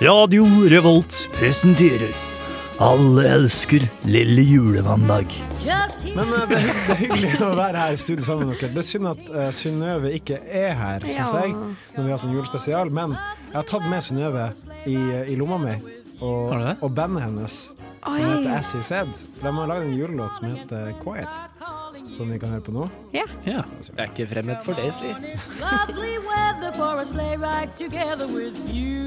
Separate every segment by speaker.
Speaker 1: Radio Revolt presenterer Alle elsker lille julemandag.
Speaker 2: Men eh, det, er hy- det er hyggelig å være her i studio sammen med dere. Det er synd at uh, Synnøve ikke er her, syns
Speaker 3: Ja.
Speaker 2: jeg, når vi har sånn julespesial. Men jeg har tatt med Synnøve i, eh, i lomma mi, og,
Speaker 4: Har du det?
Speaker 2: og bandet hennes, som
Speaker 3: Oi.
Speaker 2: heter As He Said. De har lagd en julelåt som heter eh, Quiet, som vi kan høre på nå.
Speaker 3: Ja.
Speaker 4: Ja. Jeg er ikke fremmed for det, si.
Speaker 5: Lovely weather for a sleigh ride together with you.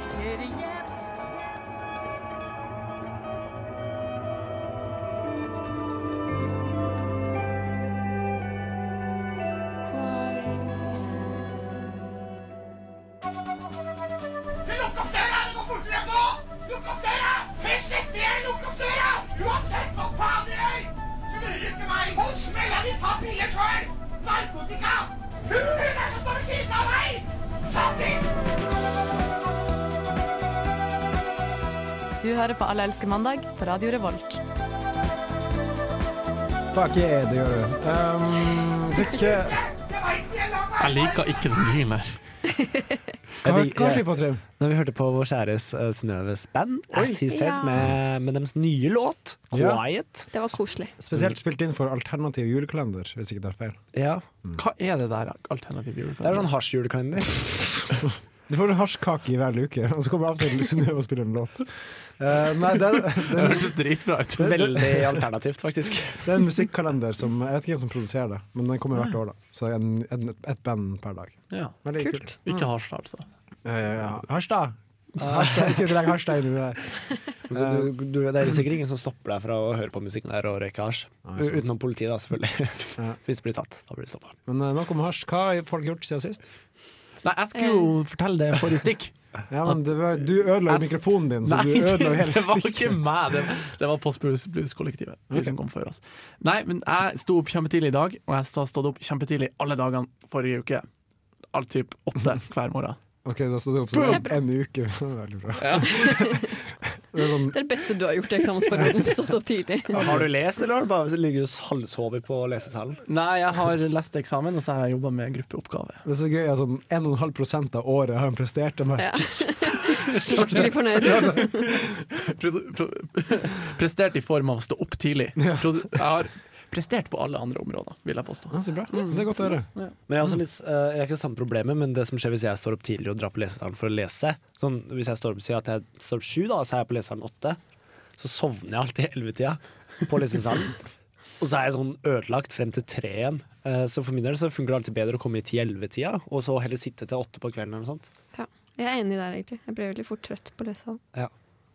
Speaker 5: Kitty, yap,
Speaker 6: Lukk opp døra! Det går fortere enn nå! Lukk opp døra! Først etter jeg lukk opp døra! Uansett hva faen du gjør, så lurer du ikke meg. Hold smella di, ta piller sjøl! Narkotika! Hulen er som står ved siden av meg! Sattis!
Speaker 3: Du hører på Alle elsker mandag på Radio Revolt.
Speaker 2: Fuck yeah, det gjør du. Um, fikk, eh,
Speaker 6: Det var ikke jeg la meg!
Speaker 4: Jeg liker ikke den lyden her.
Speaker 2: hva
Speaker 7: Jeg digger-
Speaker 2: hva hørte vi på, Trym?
Speaker 7: Når vi hørte på vår kjæres eh, Synnøves band, As He Said,
Speaker 3: Ja.
Speaker 7: med, med deres nye låt,
Speaker 2: Ja.
Speaker 7: Quiet.
Speaker 3: Det var koselig.
Speaker 2: Spesielt spilt inn for alternativ julekalender, hvis ikke tar feil.
Speaker 7: Ja.
Speaker 4: Hva er det der
Speaker 7: Det
Speaker 4: alternativ
Speaker 7: er
Speaker 4: julekalender?
Speaker 7: sånn hasjjulekalender.
Speaker 2: Du får en hasjkake i hver uke, og så kommer av og til Synnøve og spiller en låt. Eh, nei, det, er- det, er
Speaker 4: Det
Speaker 2: en
Speaker 4: høres dritbra ut.
Speaker 7: Veldig alternativt, faktisk.
Speaker 2: Det er en musikkalender som Jeg vet ikke hvem som produserer det, men den kommer hvert år. da Så en, en, et band per dag.
Speaker 4: Ja.
Speaker 2: Veldig
Speaker 3: Kult.
Speaker 2: kult.
Speaker 4: Ikke hasj, altså.
Speaker 2: Eh, Harstad! Harstad, Ikke dreng Harstad inn i det.
Speaker 7: Du, du, det er sikkert ingen som stopper deg fra å høre på musikk der og røyke hasj. U- Utenom politiet, da, selvfølgelig.
Speaker 2: Ja.
Speaker 7: Hvis du blir tatt, da blir du stoppa.
Speaker 2: Men eh, nok om hasj. Hva har folk gjort siden sist?
Speaker 4: Nei, jeg skulle jo fortelle det forrige stikk.
Speaker 2: Ja, men det var, Du ødela jo
Speaker 4: Jeg s-
Speaker 2: mikrofonen din, så
Speaker 4: Nei,
Speaker 2: du ødela jo hele
Speaker 4: det var ikke
Speaker 2: stikket.
Speaker 4: meg. Det, det var Post Blues Blues-kollektivet. De som kom før oss. Nei, men jeg sto opp kjempetidlig i dag, og jeg har stått opp kjempetidlig alle dagene forrige uke. Alt typ åtte hver morgen.
Speaker 2: Ok, da stod det opp
Speaker 3: Boom!
Speaker 2: sånn en uke. Det var Veldig bra. Det er sånn
Speaker 3: Det er det beste du har gjort i eksamensperioden. Stått opp tidlig.
Speaker 7: Har du lest, eller har du bare ligget og halvsovet på lesesalen?
Speaker 4: Nei, jeg har lest eksamen, og så har jeg jobba med gruppeoppgave.
Speaker 2: det er så gøy at sånn 1,5 av året har han prestert. Det
Speaker 3: Ja.
Speaker 2: merker
Speaker 3: Skikkelig fornøyd.
Speaker 4: Pro- pro- Prestert i form av å stå opp tidlig. Pro- Jeg har prestert på alle andre områder, vil jeg påstå.
Speaker 2: jeg. Så bra. Det er godt å høre.
Speaker 7: Men
Speaker 2: Mm.
Speaker 7: jeg har, også litt, eh, jeg har ikke det samme problemet, men det som skjer hvis jeg står opp tidlig og drar på lesesalen for å lese sånn, Hvis jeg står opp, sier at jeg står opp sju, da, og så er jeg på lesesalen åtte, så sovner jeg alltid i ellevetida på lesesalen. Og så er jeg sånn ødelagt frem til tre igjen. Eh, Så for min del så funker det alltid bedre å komme i ti-elleve-tida, og så heller sitte til åtte på kvelden eller noe sånt.
Speaker 3: Ja. Jeg er enig der, egentlig. Jeg ble veldig fort trøtt på lesesalen.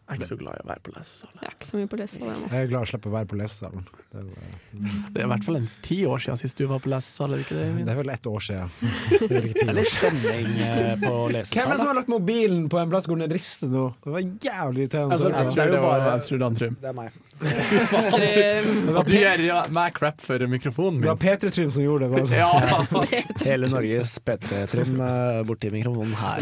Speaker 4: Jeg er ikke så glad i å være på lesesal.
Speaker 3: Jeg er ikke så mye på lesesalen ennå.
Speaker 2: Jeg er glad å slippe å være på lesesalen. Det er, jo,
Speaker 4: Det er i hvert fall en ti år siden sist du var på lesesal, er det ikke det?
Speaker 2: eh,
Speaker 4: Eivind?
Speaker 2: det er vel ett år siden. Det er vel ikke
Speaker 7: Det
Speaker 2: ti
Speaker 7: er
Speaker 2: år.
Speaker 7: litt stemning eh, på
Speaker 2: Hvem er det som
Speaker 7: lesesalen. da.
Speaker 2: har lagt mobilen på en plass hvor den rister nå? Det var jævlig irriterende. å
Speaker 7: Altså,
Speaker 2: høre på.
Speaker 4: Jeg tror
Speaker 7: det er
Speaker 4: det
Speaker 7: jo
Speaker 4: var,
Speaker 7: bare-
Speaker 4: jeg tror det er han Trym.
Speaker 7: Det er meg.
Speaker 3: Trym,
Speaker 4: Du gir ja, meg crap for mikrofonen
Speaker 2: det var
Speaker 4: min.
Speaker 2: Petre Trym som gjorde altså. det. Bare sånn.
Speaker 4: Ja,
Speaker 7: Hele Norges P3-trim eh, borti mikrofonen her.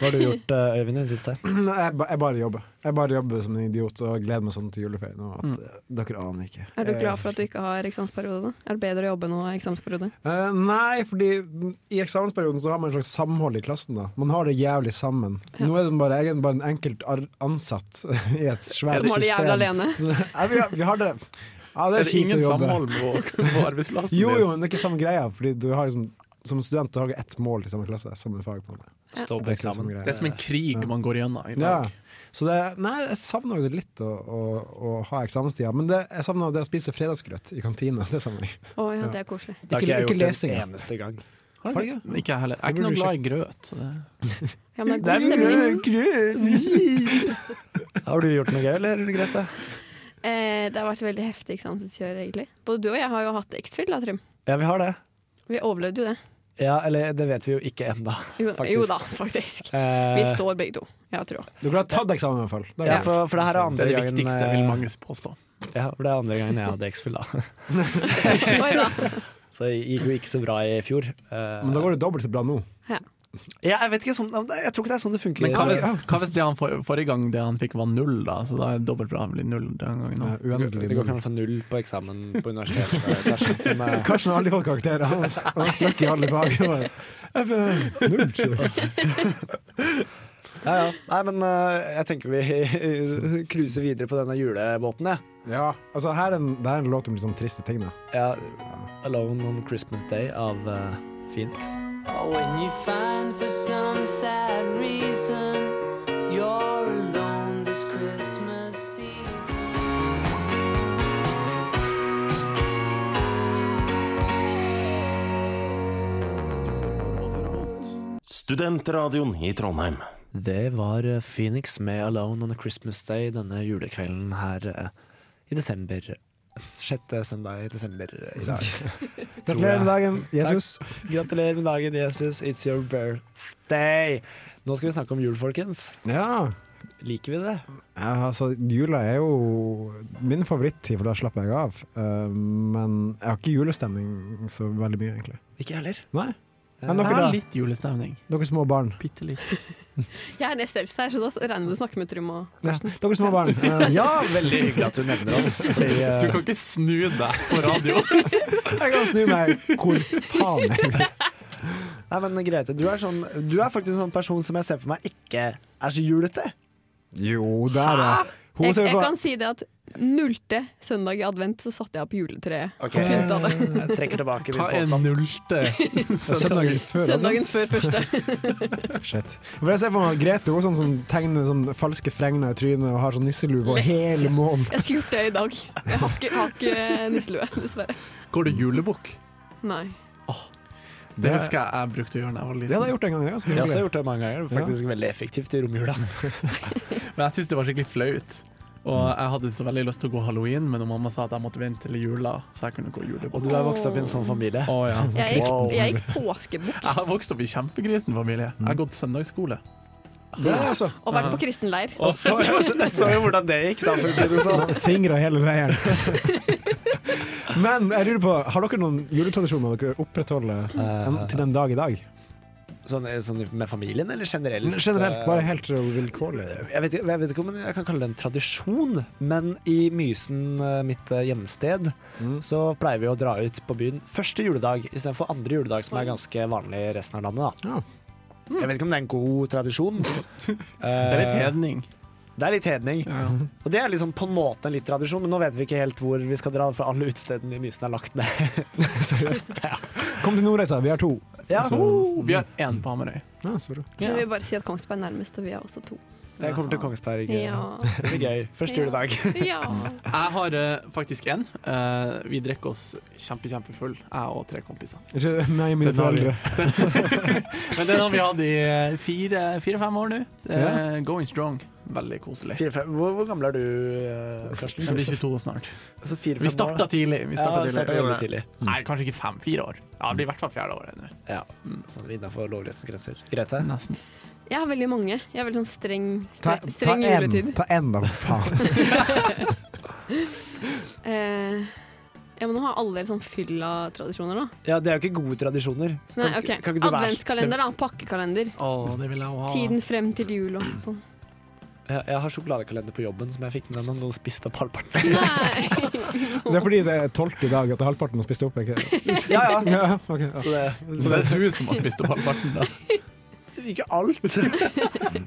Speaker 7: Hva har du gjort, eh, Øyvind, i det siste?
Speaker 2: Nei, Jeg, ba- jeg bare jobber. Jeg bare jobber som en idiot og gleder meg sånn til juleferien. Og at
Speaker 4: Mm.
Speaker 2: eh, Dere aner ikke.
Speaker 3: er du glad for at du ikke har eksamensperiode? da? Er det bedre å jobbe nå i eksamensperiode?
Speaker 2: Eh, nei, fordi i eksamensperioden så har man et slags samhold i klassen. da Man har det jævlig sammen. Nå er det bare, jeg er bare en enkelt ar- ansatt i et svært
Speaker 3: Som har det
Speaker 2: system.
Speaker 3: jævlig alene.
Speaker 2: Så, nei, vi, har, vi har det Ja, det
Speaker 4: er
Speaker 2: er,
Speaker 4: det
Speaker 2: kjipt
Speaker 4: ingen
Speaker 2: å jobbe.
Speaker 4: samhold på, på arbeidsplassen
Speaker 2: Jo, jo,
Speaker 4: din?
Speaker 2: men det er ikke samme greia. Fordi du har liksom, Som student du har du ett mål i samme klasse. Samme fag på en måte.
Speaker 7: Stå
Speaker 2: Det er
Speaker 7: på
Speaker 2: ikke samme
Speaker 7: eksamen.
Speaker 2: greie.
Speaker 4: Det er som en krig man går gjennom i
Speaker 2: Ja.
Speaker 4: dag.
Speaker 2: Så det, nei, jeg savner jo det litt å, å, å ha eksamenstida. Men det, jeg savner det å spise fredagsgrøt i kantina. Det savner jeg.
Speaker 3: Å ja, det er koselig.
Speaker 7: Det har
Speaker 2: Ikke-
Speaker 7: ikke jeg
Speaker 2: ikke
Speaker 7: gjort
Speaker 2: lesing,
Speaker 7: en
Speaker 2: da.
Speaker 7: eneste gang.
Speaker 4: Har
Speaker 2: Har
Speaker 4: du
Speaker 2: du
Speaker 4: ikke? Ikke jeg heller. Jeg er ikke
Speaker 2: Det
Speaker 4: noe
Speaker 2: burde
Speaker 4: glad i grøt. Så det.
Speaker 3: Ja, men det er god stemning.
Speaker 7: Har du gjort noe gøy, eller Grete?
Speaker 3: Eh, det har vært veldig heftig eksamenskjør, egentlig. Både du og jeg har jo hatt X-Fill, da, Trym.
Speaker 7: Ja, vi har det.
Speaker 3: Vi overlevde jo det.
Speaker 7: Ja, eller det vet vi jo ikke ennå.
Speaker 3: Jo,
Speaker 7: Faktisk.
Speaker 3: jo da, faktisk. Vi står begge to. Jeg har trua.
Speaker 2: Dere har tatt eksamen, i hvert fall. Det er
Speaker 7: Ja,
Speaker 2: bra.
Speaker 7: for, for det her er
Speaker 4: Det
Speaker 7: andre
Speaker 4: er det
Speaker 7: gangen
Speaker 4: viktigste,
Speaker 7: eh,
Speaker 4: vil mange påstå.
Speaker 7: Ja, for det er andre gangen jeg hadde X-Fill, da.
Speaker 3: Oi da.
Speaker 7: Så det gikk jo ikke så bra i fjor. Eh,
Speaker 2: Men da går det dobbelt så bra nå.
Speaker 3: Ja.
Speaker 7: Jeg, jeg vet ikke sånn, jeg tror ikke det er sånn det funker.
Speaker 4: Men hva hvis, hva hvis det han for, forrige gang det han fikk var null, da? Så da er det dobbelt bra han blir null den gangen
Speaker 2: Nei,
Speaker 4: òg.
Speaker 2: Eh, Uendelig.
Speaker 7: det går ikke an å få null på eksamen på universitetet. Det er sånn, men, eh,
Speaker 2: Karsten har aldri fått karakterer. Han har- han har strøkket i alle fag. Det var- Jeg ble- Null, sier jeg.
Speaker 7: Ja, ja. Nei, men eh, jeg tenker vi cruiser videre på denne julebåten, jeg.
Speaker 2: Ja, altså her er en, det her er en låt om litt sånn triste ting. Da.
Speaker 7: Ja. Alone on Christmas Day av eh, Phoenix.
Speaker 8: When you find for some sad reason you're alone this Christmas season.
Speaker 9: Studentradioen i Trondheim.
Speaker 7: Det var eh, Phoenix med Alone on a Christmas Day denne julekvelden her eh, i desember. Sjette søndag i desember eh, i dag. Tror
Speaker 2: Gratulerer
Speaker 7: jeg.
Speaker 2: med dagen, Jesus.
Speaker 7: Gratulerer med dagen, Jesus. It's your birthday. Nå skal vi snakke om jul, folkens.
Speaker 2: Ja.
Speaker 7: Liker vi det?
Speaker 2: Ja, altså, jula er jo min favorittid, for da slapper jeg av. Eh, men jeg har ikke julestemning så veldig mye, egentlig.
Speaker 7: Ikke jeg heller.
Speaker 2: Nei?
Speaker 7: Eh,
Speaker 2: Enn
Speaker 4: Jeg
Speaker 2: dere,
Speaker 4: har
Speaker 2: da?
Speaker 4: litt julestemning.
Speaker 2: Dere små barn.
Speaker 4: Bitte litt.
Speaker 3: Jeg er nest eldst her, så da regner jeg med å snakke med Trym og
Speaker 2: Ja, dere små barn. Eh,
Speaker 7: Ja, veldig hyggelig at du nevner oss. Fordi, eh,
Speaker 4: Du kan ikke snu deg på radio.
Speaker 2: jeg kan snu meg hvor faen jeg vil.
Speaker 7: nei, men Grete, du er, sånn, du er faktisk en sånn person som jeg ser for meg ikke er så julete.
Speaker 2: Jo, der er Hun
Speaker 3: Ah, jeg,
Speaker 2: ser
Speaker 3: jeg
Speaker 2: på
Speaker 3: kan si det at nullte søndag i advent så satte jeg opp juletreet.
Speaker 7: Okay.
Speaker 3: Pynt av det.
Speaker 7: Jeg Eh, trekker tilbake min
Speaker 4: Hva er
Speaker 7: påstand.
Speaker 4: nullte?
Speaker 2: søndagen før.
Speaker 3: Søndagen før første.
Speaker 2: Shit. For jeg ser på meg at Grete hun er sånn som tegner sånn falske fregner i trynet og har sånn nisselue på hele måneden.
Speaker 3: Jeg skulle gjort det i dag. Jeg har ikke, har ikke nisselue, dessverre.
Speaker 4: Går det julebukk?
Speaker 3: Nei.
Speaker 4: Det husker jeg jeg brukte å gjøre da jeg var
Speaker 2: Det hadde
Speaker 4: liten.
Speaker 2: jeg gjort en gang. Det er ganske
Speaker 7: Jeg har også
Speaker 2: hyggelig.
Speaker 7: gjort det mange ganger. Faktisk veldig effektivt i romjula.
Speaker 4: Men jeg syntes det var skikkelig flaut. Og jeg hadde så veldig lyst til å gå halloween, men mamma sa at jeg måtte vente til jula, så jeg kunne gå
Speaker 7: Og
Speaker 4: julebukk.
Speaker 7: du er vokst opp i en sånn familie.
Speaker 4: Å ja.
Speaker 3: Jeg gikk,
Speaker 7: Wow.
Speaker 3: jeg gikk påskebukk
Speaker 4: Jeg har vokst opp i kjempegrisenfamilie. Jeg har gått søndagsskole.
Speaker 2: Det har jeg også.
Speaker 3: og vært på kristenleir.
Speaker 7: Og så så jo hvordan det gikk, da, for å si det sånn.
Speaker 2: Fingre hele veien. Men jeg lurer på, har dere noen juletradisjoner dere opprettholder en- til den dag i dag?
Speaker 7: Sånn, sånn med familien, eller generelt?
Speaker 2: Generelt,
Speaker 7: Eh,
Speaker 2: bare helt vilkårlig.
Speaker 7: jeg vet, ikke- jeg vet ikke om jeg kan kalle det en tradisjon, men i Mysen, eh, mitt eh, hjemsted, så pleier vi å dra ut på byen første juledag istedenfor andre juledag, som er ganske vanlig i resten av landet. Da.
Speaker 2: Ja.
Speaker 7: Jeg vet ikke om det er en god tradisjon. Eh,
Speaker 4: Det er litt hedning.
Speaker 7: Det er litt hedning. Og det er liksom på en måte en litt tradisjon, men nå vet vi ikke helt hvor vi skal dra, for alle utestedene i Mysen er lagt ned. Seriøst? Ja.
Speaker 2: Kom til Nordreisa, vi har to.
Speaker 7: ja.
Speaker 4: Oh, vi har én på Hamarøy.
Speaker 2: Ja, så bra.
Speaker 3: Så vil jeg bare si at Kongsberg er nærmest, og vi er også to.
Speaker 7: Jeg kommer til Kongsberg.
Speaker 3: Ja.
Speaker 7: Det blir gøy. Første
Speaker 3: Ja.
Speaker 7: juledag.
Speaker 3: ja.
Speaker 4: Jeg har eh, faktisk én. Eh, vi drikker oss kjempe, kjempefull, jeg og tre kompiser.
Speaker 2: Ikke meg og mine
Speaker 4: Det tar vi.
Speaker 2: foreldre.
Speaker 4: Men den har vi hatt i eh, fire- fire-fem år nå. Eh, Going strong. Veldig koselig.
Speaker 7: Fire, fem. Hvor, hvor gammel er du, eh, Karsten?
Speaker 4: Jeg blir 22 snart.
Speaker 7: Altså, fire, fem
Speaker 4: Vi
Speaker 7: år,
Speaker 4: starta
Speaker 7: da.
Speaker 4: tidlig. Vi
Speaker 7: Ja,
Speaker 4: starta
Speaker 7: vi starta
Speaker 4: tidlig.
Speaker 7: veldig tidlig.
Speaker 4: Nei, kanskje ikke fem. Fire år. Ja, det blir i hvert fall fjerde året nå.
Speaker 7: Ja, sånn innenfor lovlighetens grenser. Grete?
Speaker 4: Nesten.
Speaker 3: Jeg har veldig mange. Jeg er veldig sånn streng,
Speaker 2: Ta,
Speaker 3: stre,
Speaker 2: ta,
Speaker 3: streng
Speaker 2: en,
Speaker 3: juletid.
Speaker 2: ta en, da, for faen.
Speaker 3: Eh, ja, men nå har alle sånn fylla-tradisjoner nå.
Speaker 7: Ja, det er jo ikke gode tradisjoner.
Speaker 3: Nei,
Speaker 7: Kan-
Speaker 3: ok.
Speaker 7: kan ikke du være-
Speaker 3: Adventskalender, da. Pakkekalender.
Speaker 4: Å, det vil jeg jo ha.
Speaker 3: Tiden frem til jul og sånn.
Speaker 7: Jeg, jeg har sjokoladekalender på jobben som jeg fikk med meg, men noen spiste opp halvparten.
Speaker 3: Nei!
Speaker 2: Det er fordi det er tolvte i dag at halvparten har spist opp. Ikke?
Speaker 7: Ja, ja.
Speaker 2: Ja, ok, ja.
Speaker 7: Så det,
Speaker 4: Så det er du som har spist opp halvparten, da.
Speaker 7: ikke alt.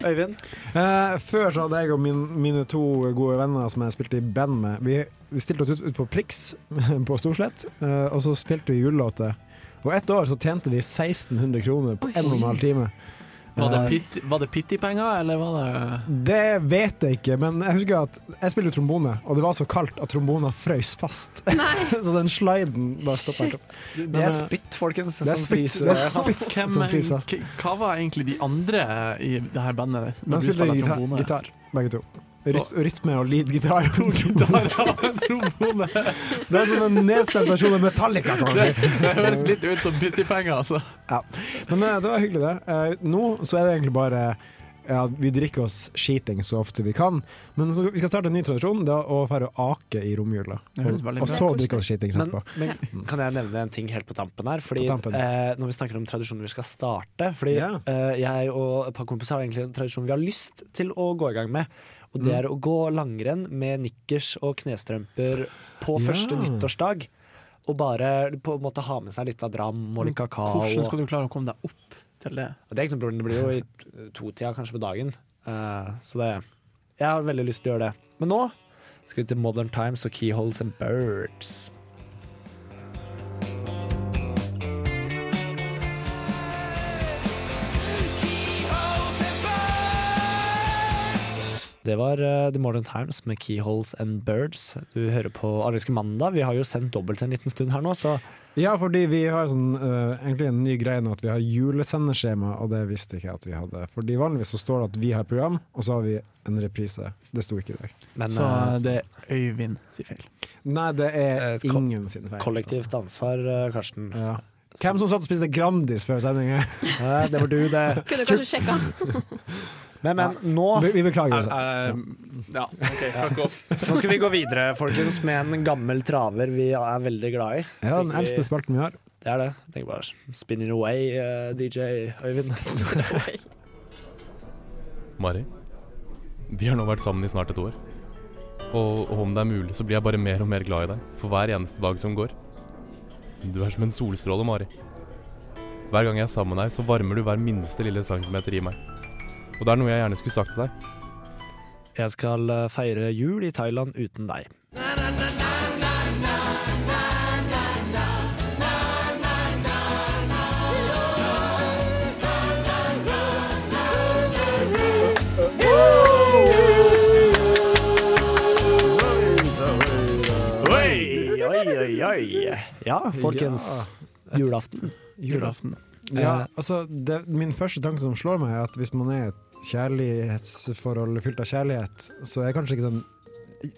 Speaker 7: Øyvind?
Speaker 2: Eh, før så hadde jeg og min, mine to gode venner som jeg spilte i band med, vi, vi stilte oss ut utenfor Prix på Storslett, eh, og så spilte vi julelåter. Og ett år så tjente vi 1600 kroner på en og en halv time.
Speaker 4: Var det
Speaker 2: Eh,
Speaker 4: pitt- var det Pitti-penger, eller var det
Speaker 2: det vet jeg ikke, men jeg husker at jeg spiller trombone, og det var så kaldt at trombona frøys fast. så den sliden bare stoppa
Speaker 3: Shit.
Speaker 2: ikke opp.
Speaker 7: Det er spytt, folkens.
Speaker 2: Det er
Speaker 7: som
Speaker 2: spytt,
Speaker 7: fryser
Speaker 2: det er
Speaker 7: fast.
Speaker 2: spytt som
Speaker 4: Hvem,
Speaker 2: fryser fast.
Speaker 4: k- hva var egentlig de andre i det her bandet?
Speaker 2: Men
Speaker 4: Når du
Speaker 2: jeg spiller
Speaker 4: spiller
Speaker 2: gitar,
Speaker 4: trombone?
Speaker 2: gitar, begge to.
Speaker 4: Så-
Speaker 2: Ryt, rytme og lead-gitar.
Speaker 4: Gitar, ja, men trombone.
Speaker 2: Det er som en nedstemt versjon av Metallica. kan man si.
Speaker 4: Det, det høres litt ut som Pitti-penger, altså.
Speaker 2: Men eh, det var hyggelig, det. Eh, nå så er det egentlig bare ja, vi drikker oss skiting så ofte vi kan. Men så, vi skal starte en ny tradisjon, det er å dra og ake i romjula.
Speaker 4: Det høres
Speaker 2: Og,
Speaker 4: veldig
Speaker 2: og
Speaker 4: bra
Speaker 2: så
Speaker 4: ut.
Speaker 2: drikke oss skiting
Speaker 7: Men,
Speaker 2: etterpå.
Speaker 7: men kan jeg nevne en ting helt på tampen her? Fordi
Speaker 2: På tampen.
Speaker 7: Eh, Når vi snakker om tradisjoner vi skal starte Fordi
Speaker 2: Ja.
Speaker 7: eh, jeg og et par kompiser har egentlig en tradisjon vi har lyst til å gå i gang med. Og
Speaker 2: Mm.
Speaker 7: det er å gå langrenn med nikkers og knestrømper på
Speaker 2: Ja.
Speaker 7: første nyttårsdag. Og bare på en måte ha med seg litt av dram og
Speaker 2: Mm.
Speaker 7: litt kakao.
Speaker 4: Hvordan
Speaker 7: Og,
Speaker 4: skal du klare å komme deg opp til det?
Speaker 7: og det er ikke noe problem, det blir jo i to-tida kanskje på dagen. Eh, så det Jeg har veldig lyst til å gjøre det. Men nå skal vi til Modern Times og Keyholes and Birds. Det var eh, The Modern Times med Keyholes and Birds. Du hører på Ariske mandag. Vi har jo sendt dobbelt en liten stund her nå, så
Speaker 2: Ja, fordi vi har sånn, eh, egentlig en ny greie nå at vi har julesendeskjema, og det visste ikke jeg at vi hadde. Fordi vanligvis så står det at vi har program, og så har vi en reprise. Det sto ikke i dag.
Speaker 7: Men
Speaker 4: Så
Speaker 7: eh,
Speaker 4: det er Øyvind sier feil.
Speaker 2: Nei, det er
Speaker 7: Et ko-
Speaker 2: ingen sine feil.
Speaker 7: kollektivt ansvar, eh, Karsten.
Speaker 2: Altså. Ja. Hvem som satt og spiste Grandis før sending?
Speaker 7: Eh, Det var du, det.
Speaker 3: Kunne kanskje sjekka.
Speaker 7: Men, men nå,
Speaker 2: Vi, vi beklager oss.
Speaker 4: ja, OK, fuck off.
Speaker 7: nå skal vi gå videre, folkens, med en gammel traver vi er veldig glad i.
Speaker 2: Ja, den eldste spalten vi har.
Speaker 7: Det er det. Tenk bare Spinning away, eh, DJ Øyvind.
Speaker 10: Mari, vi har nå vært sammen i snart et år. Og, og om det er mulig, så blir jeg bare mer og mer glad i deg for hver eneste dag som går. Du er som en solstråle, Mari. Hver gang jeg er sammen med deg, så varmer du hver minste lille centimeter i meg. Og det er noe jeg gjerne skulle sagt til deg.
Speaker 7: Jeg skal eh, feire jul i Thailand uten deg. Oi, oi, oi, oi. Ja, folkens. Julaften.
Speaker 4: Julaften.
Speaker 2: Ja, altså, det, min første tanke som slår meg, er at hvis man er i et kjærlighetsforhold fylt av kjærlighet, så er kanskje ikke sånn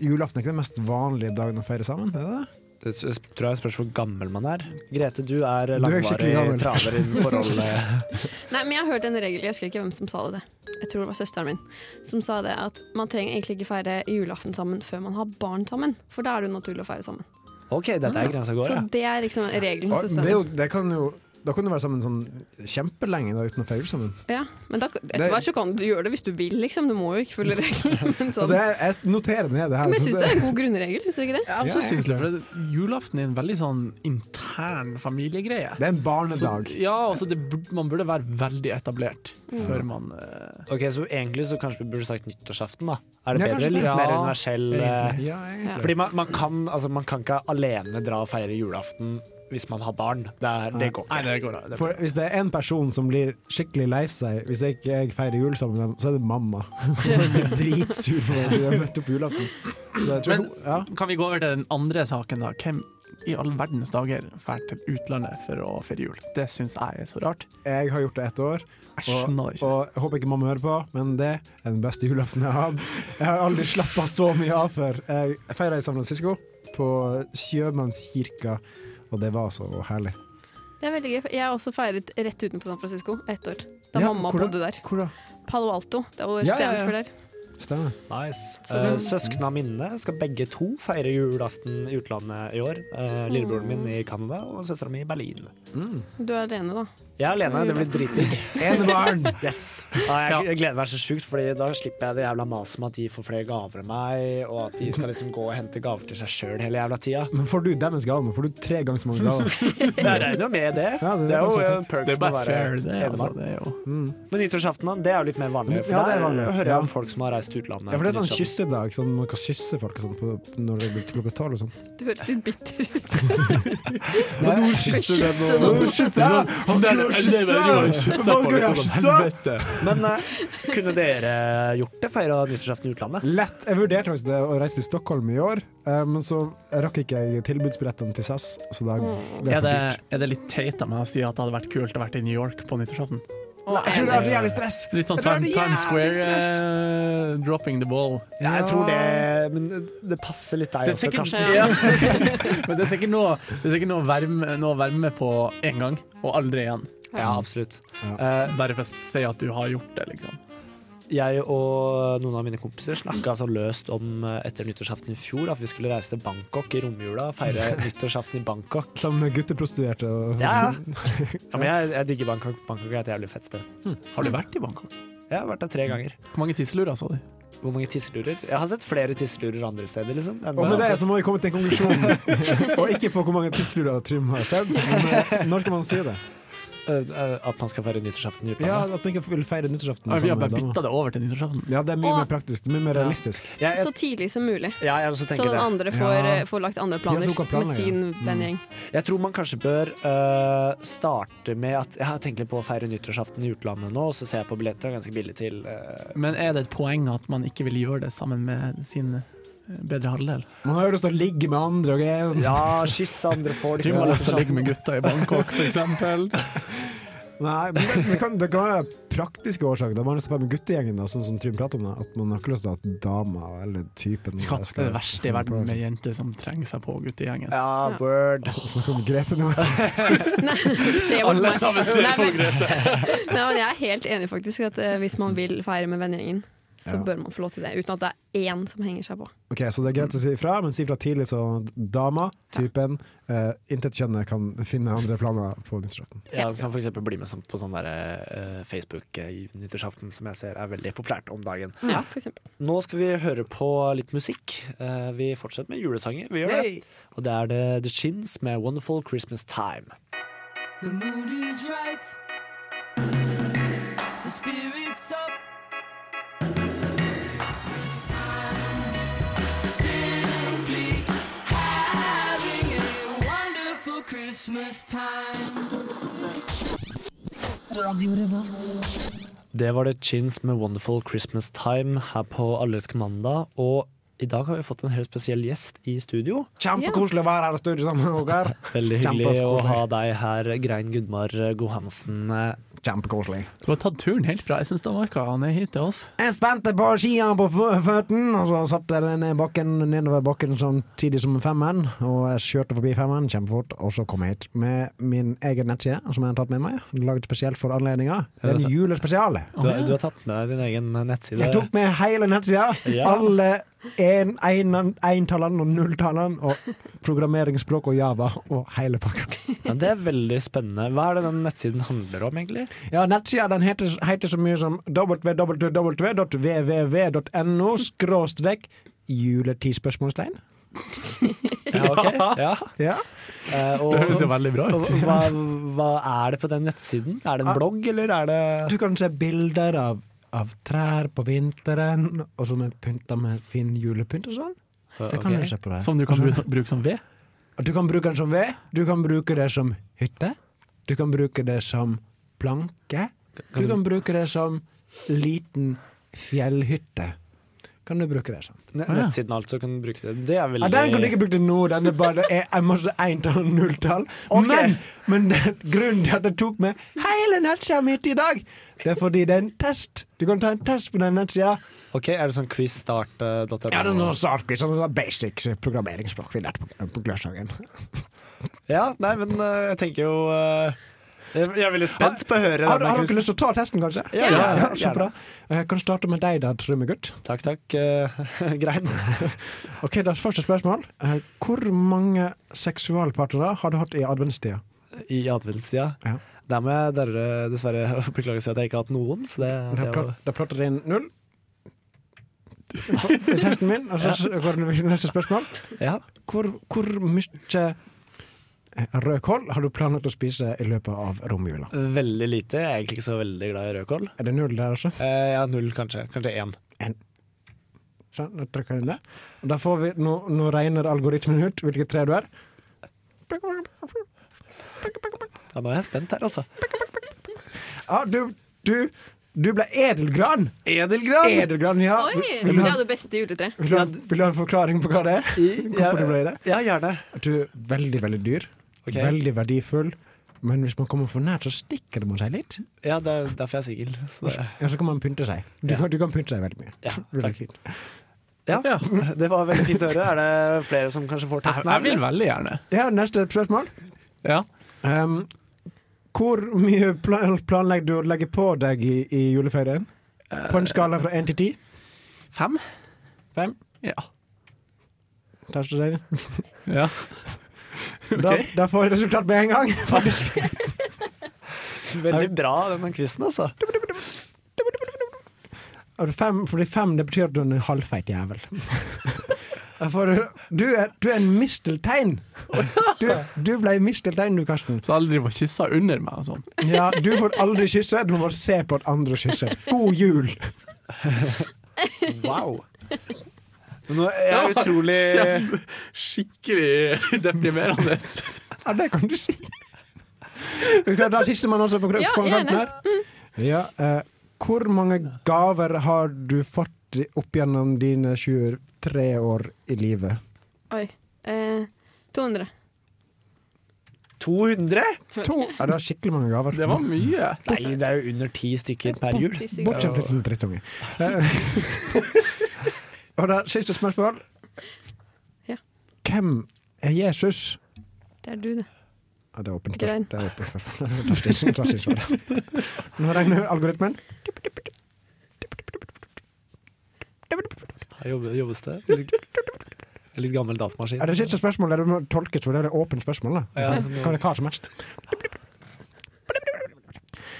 Speaker 2: Julaften er ikke den mest vanlige dagen å feire sammen? Er det det?
Speaker 7: Det s- s- tror jeg spørs hvor gammel man er. Grete, du
Speaker 2: er
Speaker 7: er
Speaker 2: skikkelig
Speaker 7: langvarig
Speaker 2: gammel.
Speaker 7: traver innen forholdet.
Speaker 3: Nei, men jeg har hørt en regel, jeg husker ikke hvem som sa det. Jeg tror det var søsteren min som sa det at man trenger egentlig ikke feire julaften sammen før man har barn sammen, for da er det jo naturlig å feire sammen.
Speaker 7: OK, dette er grensa går,
Speaker 3: Så
Speaker 7: ja.
Speaker 3: det er liksom regelen.
Speaker 2: Og
Speaker 3: søsteren
Speaker 2: det, er jo,
Speaker 3: min.
Speaker 2: det kan jo Da kan du være sammen sånn kjempelenge da, uten å feire jul sammen.
Speaker 3: Ja, men da, etter hvert så kan du gjøre det hvis du vil, liksom. Du må jo ikke følge regelen. Men,
Speaker 2: Altså,
Speaker 3: sånn.
Speaker 2: jeg, jeg noterer ned det her.
Speaker 3: men jeg
Speaker 2: så
Speaker 3: syns det er en god grunnregel, syns du ikke det?
Speaker 4: Ja, men
Speaker 2: Ja, altså,
Speaker 4: så synes jeg, for det, Julaften er en veldig sånn intern familiegreie.
Speaker 2: det er en
Speaker 4: Så,
Speaker 2: barnedag.
Speaker 4: ja, altså det, bur- man burde være veldig etablert
Speaker 2: Mm.
Speaker 4: før man eh,
Speaker 7: Ok, så egentlig så kanskje vi burde sagt nyttårsaften, da. Er det
Speaker 2: Ja,
Speaker 7: bedre?
Speaker 2: kanskje
Speaker 7: Litt
Speaker 4: det.
Speaker 7: mer
Speaker 4: Ja.
Speaker 7: universell eh,
Speaker 2: Ja, egentlig.
Speaker 7: Fordi man, man, kan, altså, man kan ikke alene dra og feire julaften hvis man har barn. Det, er, det går
Speaker 4: Nei,
Speaker 7: ikke.
Speaker 4: det går da. Det
Speaker 2: For hvis det er en person som blir skikkelig lei seg hvis jeg ikke jeg feirer jul sammen med dem, så er det mamma. Hun blir dritsur for meg siden jeg møtte på julaften. Så jeg tror,
Speaker 4: Men- Kan vi gå over til den andre saken, da? Hvem i all verdens dager drar til utlandet for å feire jul? Det syns jeg er så rart.
Speaker 2: Jeg har gjort det ett år,
Speaker 4: Jeg
Speaker 2: og,
Speaker 4: skjønner det ikke.
Speaker 2: og jeg håper ikke mamma hører på, men det er den beste julaften jeg har hatt. Jeg har aldri slappa så mye av før. Jeg feira i San Francisco, på sjømannskirka, og det var så herlig.
Speaker 3: Det er veldig gøy. Jeg har også feiret rett utenfor San Francisco ett år. Da
Speaker 2: Ja,
Speaker 3: mamma
Speaker 2: hvor da?
Speaker 3: bodde der.
Speaker 2: Hvor da?
Speaker 3: Palo Alto. Det
Speaker 2: Ja,
Speaker 3: var
Speaker 2: ja, ja.
Speaker 3: Stanford der.
Speaker 2: Stemmer.
Speaker 7: Nice. Eh, Søskna mine skal begge to feire julaften i utlandet i år. Eh, lillebroren min i Canada og søstera mi i Berlin.
Speaker 3: Du er alene, da.
Speaker 7: Jeg er alene, det blir dritdigg.
Speaker 2: Enebarn!
Speaker 7: Yes. Mm. Ja, jeg, jeg gleder meg så sjukt, Fordi da slipper jeg det jævla maset med at de får flere gaver enn meg, og at de skal liksom gå og hente gaver til seg sjøl hele jævla tida.
Speaker 2: Men får du deres gave nå? Får du tre ganger så mange gaver?
Speaker 7: Det er jo noe med det.
Speaker 2: Ja, det er
Speaker 7: det er jo
Speaker 2: kanskje
Speaker 7: eh,
Speaker 2: sant.
Speaker 7: perks med
Speaker 4: Det er
Speaker 7: å
Speaker 4: bare
Speaker 7: være
Speaker 4: fair, det. Altså,
Speaker 7: enebarn.
Speaker 4: det er jo.
Speaker 2: Mm.
Speaker 7: Men nyttårsaften, da, det er jo litt mer vanlig. For
Speaker 2: Ja, det
Speaker 7: der
Speaker 2: er vanlig.
Speaker 7: hører
Speaker 2: Ja.
Speaker 7: jeg om folk som har reist til utlandet.
Speaker 2: Ja, for det er
Speaker 7: på
Speaker 2: sånn
Speaker 7: nyttårsaften.
Speaker 2: kyssedag, sånn man kan kysse folk og sånn på- når det blir klokka tolv og sånn.
Speaker 3: Du høres litt bitter ut.
Speaker 2: Nei, du kysser den nå. Du kysser den. Han
Speaker 4: der- det der gjorde han kyssa på, det kom
Speaker 7: Men eh, kunne dere gjort det? Feira nyttårsaften i utlandet?
Speaker 2: Lett. Jeg vurderte faktisk det å reise til Stockholm i år, eh, men så rakk ikke jeg tilbudsbillettene til SAS, så da
Speaker 3: Mm.
Speaker 2: ble det for
Speaker 4: Er det,
Speaker 2: dyrt.
Speaker 4: er det litt teit av meg å si at det hadde vært kult å være i New York på nyttårsaften?
Speaker 2: Jeg tror det hadde vært jævlig stress.
Speaker 4: Litt sånn
Speaker 2: Jeg tror
Speaker 4: Time-
Speaker 2: det er
Speaker 4: Times Square,
Speaker 2: jævlig stress.
Speaker 4: eh, dropping the ball.
Speaker 7: Ja, jeg tror det Men det passer litt deg
Speaker 4: Det
Speaker 7: også,
Speaker 4: er sikkert,
Speaker 7: Karsten.
Speaker 4: ja. altså, Men det er sikkert noe, det er sikkert noe, å være med- noe å være med på én gang, og aldri igjen.
Speaker 7: Ja, absolutt.
Speaker 2: Ja.
Speaker 7: Eh,
Speaker 4: Bare for å si at du har gjort det, liksom.
Speaker 7: jeg og noen av mine kompiser snakka så løst om eh, etter nyttårsaften i fjor at vi skulle reise til Bangkok i romjula og feire nyttårsaften i Bangkok.
Speaker 2: Sammen med gutteprostituerte. og-
Speaker 7: Ja, ja. ja men jeg, jeg digger Bangkok. Bangkok er et jævlig fett sted.
Speaker 4: Har du vært i Bangkok?
Speaker 7: Jeg har vært der tre ganger.
Speaker 4: Hvor mange tisselurer så du?
Speaker 7: Hvor mange tisselurer? Jeg har sett flere tisselurer andre steder, liksom. enn-
Speaker 2: Og med det så må vi komme til en konklusjon. og ikke på hvor mange tidslurer Trym har sett. Men eh, når skal man si det?
Speaker 7: Eh, eh, At man skal feire nyttårsaften i
Speaker 2: Ja,
Speaker 7: utlandet.
Speaker 2: At man ikke vil feire nyttårsaften
Speaker 4: Ah, vi har
Speaker 2: sammen med
Speaker 4: bare
Speaker 2: damer.
Speaker 4: bytta det over til nyttårsaften.
Speaker 2: Ja, det er mye
Speaker 3: Og-
Speaker 2: mer praktisk. Det er mye mer realistisk.
Speaker 7: Jeg,
Speaker 3: Så
Speaker 7: jeg,
Speaker 3: tidlig som mulig.
Speaker 7: ja, jeg også
Speaker 3: Så
Speaker 7: tenker
Speaker 3: den
Speaker 7: det.
Speaker 3: andre får,
Speaker 2: Ja.
Speaker 3: eh, får lagt andre
Speaker 2: Ja, Mm. så
Speaker 3: planer
Speaker 2: hun kan
Speaker 3: med
Speaker 2: planlegge.
Speaker 3: sin vennegjeng.
Speaker 7: Jeg tror man kanskje bør eh, starte med at Jeg har tenkt litt på å feire nyttårsaften i utlandet nå, og så ser jeg på billetter, ganske billig til. eh,
Speaker 4: Men er det et poeng at man ikke vil gjøre det sammen med sin eh, bedre halvdel?
Speaker 2: Man har jo lyst til å ligge med andre. og jeg-
Speaker 7: ja, kysse andre folk.
Speaker 4: Trym har lyst til å ligge med gutta i Bangkok, f.eks.
Speaker 2: Nei, men det, det, kan, det kan være praktiske årsaker. Da man har lyst til å være med guttegjengen, da, sånn som Trym prater om det. At man har ikke lyst til at dama eller typen
Speaker 4: Skatt er det verste i verden med jenter som trenger seg på guttegjengen.
Speaker 7: Ja, word.
Speaker 2: Snakk om Grete nå.
Speaker 3: Nei, se bort meg.
Speaker 4: sammen ser
Speaker 3: Nei,
Speaker 4: på
Speaker 3: men- Nei, men jeg er helt enig faktisk at eh, hvis man vil feire med vennegjengen, så
Speaker 2: Ja.
Speaker 3: bør man få lov til det. Uten at det er én som henger seg på.
Speaker 2: Ok, Så det er greit å si ifra, men si ifra tidlig, så dama, typen, eh, intet kjønnet kan finne andre planer på nyttårsaften.
Speaker 7: Ja, du kan f.eks. bli med som- på sånn der, eh, Facebook eh, i nyttårsaften, som jeg ser er veldig populært om dagen.
Speaker 3: Ja, for eksempel.
Speaker 7: Nå skal vi høre på litt musikk. Eh, Vi fortsetter med julesanger. Vi gjør det. Og det er det The Shins med 'Wonderful Christmas Time'.
Speaker 8: The mood is right. The spirit's up. Simply having a wonderful Christmas time.
Speaker 7: Det var det Chins med 'Wonderful Christmas Time' her på Allelske mandag. Og i dag har vi fått en helt spesiell gjest i studio.
Speaker 2: Kjempekoselig å være her og studere sammen med dere.
Speaker 7: Veldig hyggelig
Speaker 2: Kjempeskole.
Speaker 7: å ha deg her, Grein Gudmar Gohansen. Eh,
Speaker 2: Kjempekoselig.
Speaker 4: Du har tatt turen helt fra Essenstadmarka og ned hit til oss.
Speaker 2: Jeg spente på skia på fø- føtten, og så satt jeg den ned bakken, nedover bakken samtidig som femmeren. Og jeg kjørte forbi femmeren kjempefort, og så kom jeg hit med min egen nettside, som jeg har tatt med meg. Laget spesielt for anledninga. Det er en julespesial.
Speaker 7: Du, har- du har tatt med deg din egen nettside.
Speaker 2: Jeg tok med hele nettsida.
Speaker 7: Ja.
Speaker 2: Alle en- en- entallene og nulltallene, og programmeringsspråk og Java, og hele pakka.
Speaker 7: Ja, det er veldig spennende. Hva er det den nettsiden handler om, egentlig?
Speaker 2: Ja, nettsida den heter, heter så mye som www.vvv.no skråstrek juletispørsmålstegn.
Speaker 7: Ja, ok. Ja.
Speaker 2: Ja.
Speaker 7: Eh, og,
Speaker 4: Det høres jo veldig bra
Speaker 7: og
Speaker 4: ut.
Speaker 7: hva, hva er det på den nettsiden? Er
Speaker 2: Ah.
Speaker 7: det en blogg, eller er det
Speaker 2: Du kan se bilder av, av trær på vinteren, og som er pynta med fin julepynt og sånn. Det kan
Speaker 7: Ok.
Speaker 2: du se på der.
Speaker 4: Som du kan bruke, bruke som ved.
Speaker 2: Du kan bruke den som ved, du kan bruke det som hytte, du kan bruke det som planke, du kan bruke det som liten fjellhytte. Kan du bruke det som.
Speaker 7: Ne- Nettsiden altså kan du bruke det. Det er
Speaker 2: Ah, Ja,
Speaker 7: veldig
Speaker 2: den kan du ikke bruke til noe, den er bare det er en masse entall og nulltall. Men, men den, grunnen til at jeg tok med hele nettsida mi til i dag, det er fordi det er en test. Du kan ta en test på den nettsida.
Speaker 7: Ok, er det sånn quizstart.no?
Speaker 2: Ja, det er noe sarkis, sånn basic programmeringsspråk vi lærte på, på Gløshagen.
Speaker 7: Ja, nei, men eh, jeg tenker jo eh, Jeg jeg er veldig spent på å høre
Speaker 2: Har, har
Speaker 7: denne
Speaker 2: dere
Speaker 7: quizen.
Speaker 2: lyst til å ta testen, kanskje?
Speaker 7: Ja, ja, ja,
Speaker 2: så
Speaker 7: gjerne.
Speaker 2: bra. Jeg kan starte med deg da, Trummegutt.
Speaker 7: Takk, takk. eh, Grein.
Speaker 2: Ok, da er første spørsmål. Eh, Hvor mange seksualpartnere har du hatt i adventstida?
Speaker 7: I adventstida.
Speaker 2: Ja.
Speaker 7: Der må jeg dere, dessverre beklage si at jeg ikke har hatt noen. Så det,
Speaker 2: Da
Speaker 7: det er jo-
Speaker 2: plot- da plotter jeg inn null. Det er testen min, og så s- går det til neste spørsmål.
Speaker 7: ja.
Speaker 2: Hvor, hvor mye eh, rødkål har du planlagt å spise i løpet av romjula?
Speaker 7: Veldig lite. Jeg er egentlig ikke så veldig glad i rødkål.
Speaker 2: Er det null der også?
Speaker 7: Eh, ja, null kanskje. Kanskje én.
Speaker 2: Sånn, nå trykker jeg inn det. Og Da får vi, nå, nå regner algoritmen ut hvilket tre du er.
Speaker 7: Ja, nå er jeg spent her, altså.
Speaker 2: Ja, du, du, du ble edelgran!
Speaker 7: Edelgran!
Speaker 2: Edelgran, ja.
Speaker 3: Oi! Det
Speaker 2: Vil, vil, du ha,
Speaker 3: er det beste juletreet.
Speaker 2: vil, du ha, vil du ha en forklaring på hva det er? Hvorfor du ble det?
Speaker 7: Ja, gjerne.
Speaker 2: Du er veldig, veldig dyr.
Speaker 7: Ok.
Speaker 2: Veldig verdifull. Men hvis man kommer for nært, så stikker det man seg litt.
Speaker 7: Ja, det er derfor jeg er singel. så det-
Speaker 2: Ja, så kan man pynte seg. Du, kan- du kan pynte deg veldig mye.
Speaker 7: Ja,
Speaker 2: Veldig
Speaker 7: takk.
Speaker 2: fint.
Speaker 7: Ja, det var veldig fint å høre. Er det flere som kanskje får
Speaker 4: Jeg,
Speaker 7: testen?
Speaker 4: jeg
Speaker 7: her?
Speaker 4: vil veldig gjerne.
Speaker 2: ja neste spørsmål.
Speaker 4: Ja.
Speaker 2: Ehm, Um, hvor mye pla- planlegger du å legge på deg i, i juleferien?
Speaker 4: eh,
Speaker 2: På en skala fra én til ti?
Speaker 4: Fem?
Speaker 2: Fem?
Speaker 4: Ja.
Speaker 2: Tester dere?
Speaker 4: ja.
Speaker 2: Da, da får vi resultat med en gang, faktisk.
Speaker 7: Veldig bra, denne quizen, altså.
Speaker 2: Er du Fem, fordi fem det betyr at du er en halvfeit jævel. Da får du, du, er, du er en misteltein! Du, du ble misteltein, du, Karsten.
Speaker 4: Så alle driver og kysser under meg og sånn.
Speaker 2: Ja, Du får aldri kysse, du må bare se på at andre kysser. God jul!
Speaker 7: Wow. Nå er jeg utrolig
Speaker 4: Skikkelig deprimerende.
Speaker 2: Ja, det kan du si. Vi kan ta sistemann også på,
Speaker 3: Ja,
Speaker 2: på kanten
Speaker 3: gjerne. Mm.
Speaker 2: her. Ja, eh, hvor mange gaver har du fått i- opp gjennom dine 23 år i livet?
Speaker 3: Oi. Eh, 200.
Speaker 7: 200?
Speaker 2: To! Ja, det er skikkelig mange gaver.
Speaker 4: Det var mye.
Speaker 7: Nei, det er jo under ti stykker per jul.
Speaker 3: Ti stykker.
Speaker 2: Bortskjemt liten drittunge. Eh, Og da siste spørsmål.
Speaker 3: Ja.
Speaker 2: Hvem er Jesus?
Speaker 3: Det er du, det.
Speaker 2: Ja, det er åpent
Speaker 3: Grein.
Speaker 2: spørsmål. Det er åpent spørsmål. Klassisk- klassisk svar. Nå regner algoritmen.
Speaker 7: Her jobber- jobbes det. Litt, litt gammel datamaskin.
Speaker 2: Er det siste spørsmålet du må tolkes, for det er det åpent spørsmål. Da.
Speaker 7: Ja, som-
Speaker 2: Kan det hva som helst.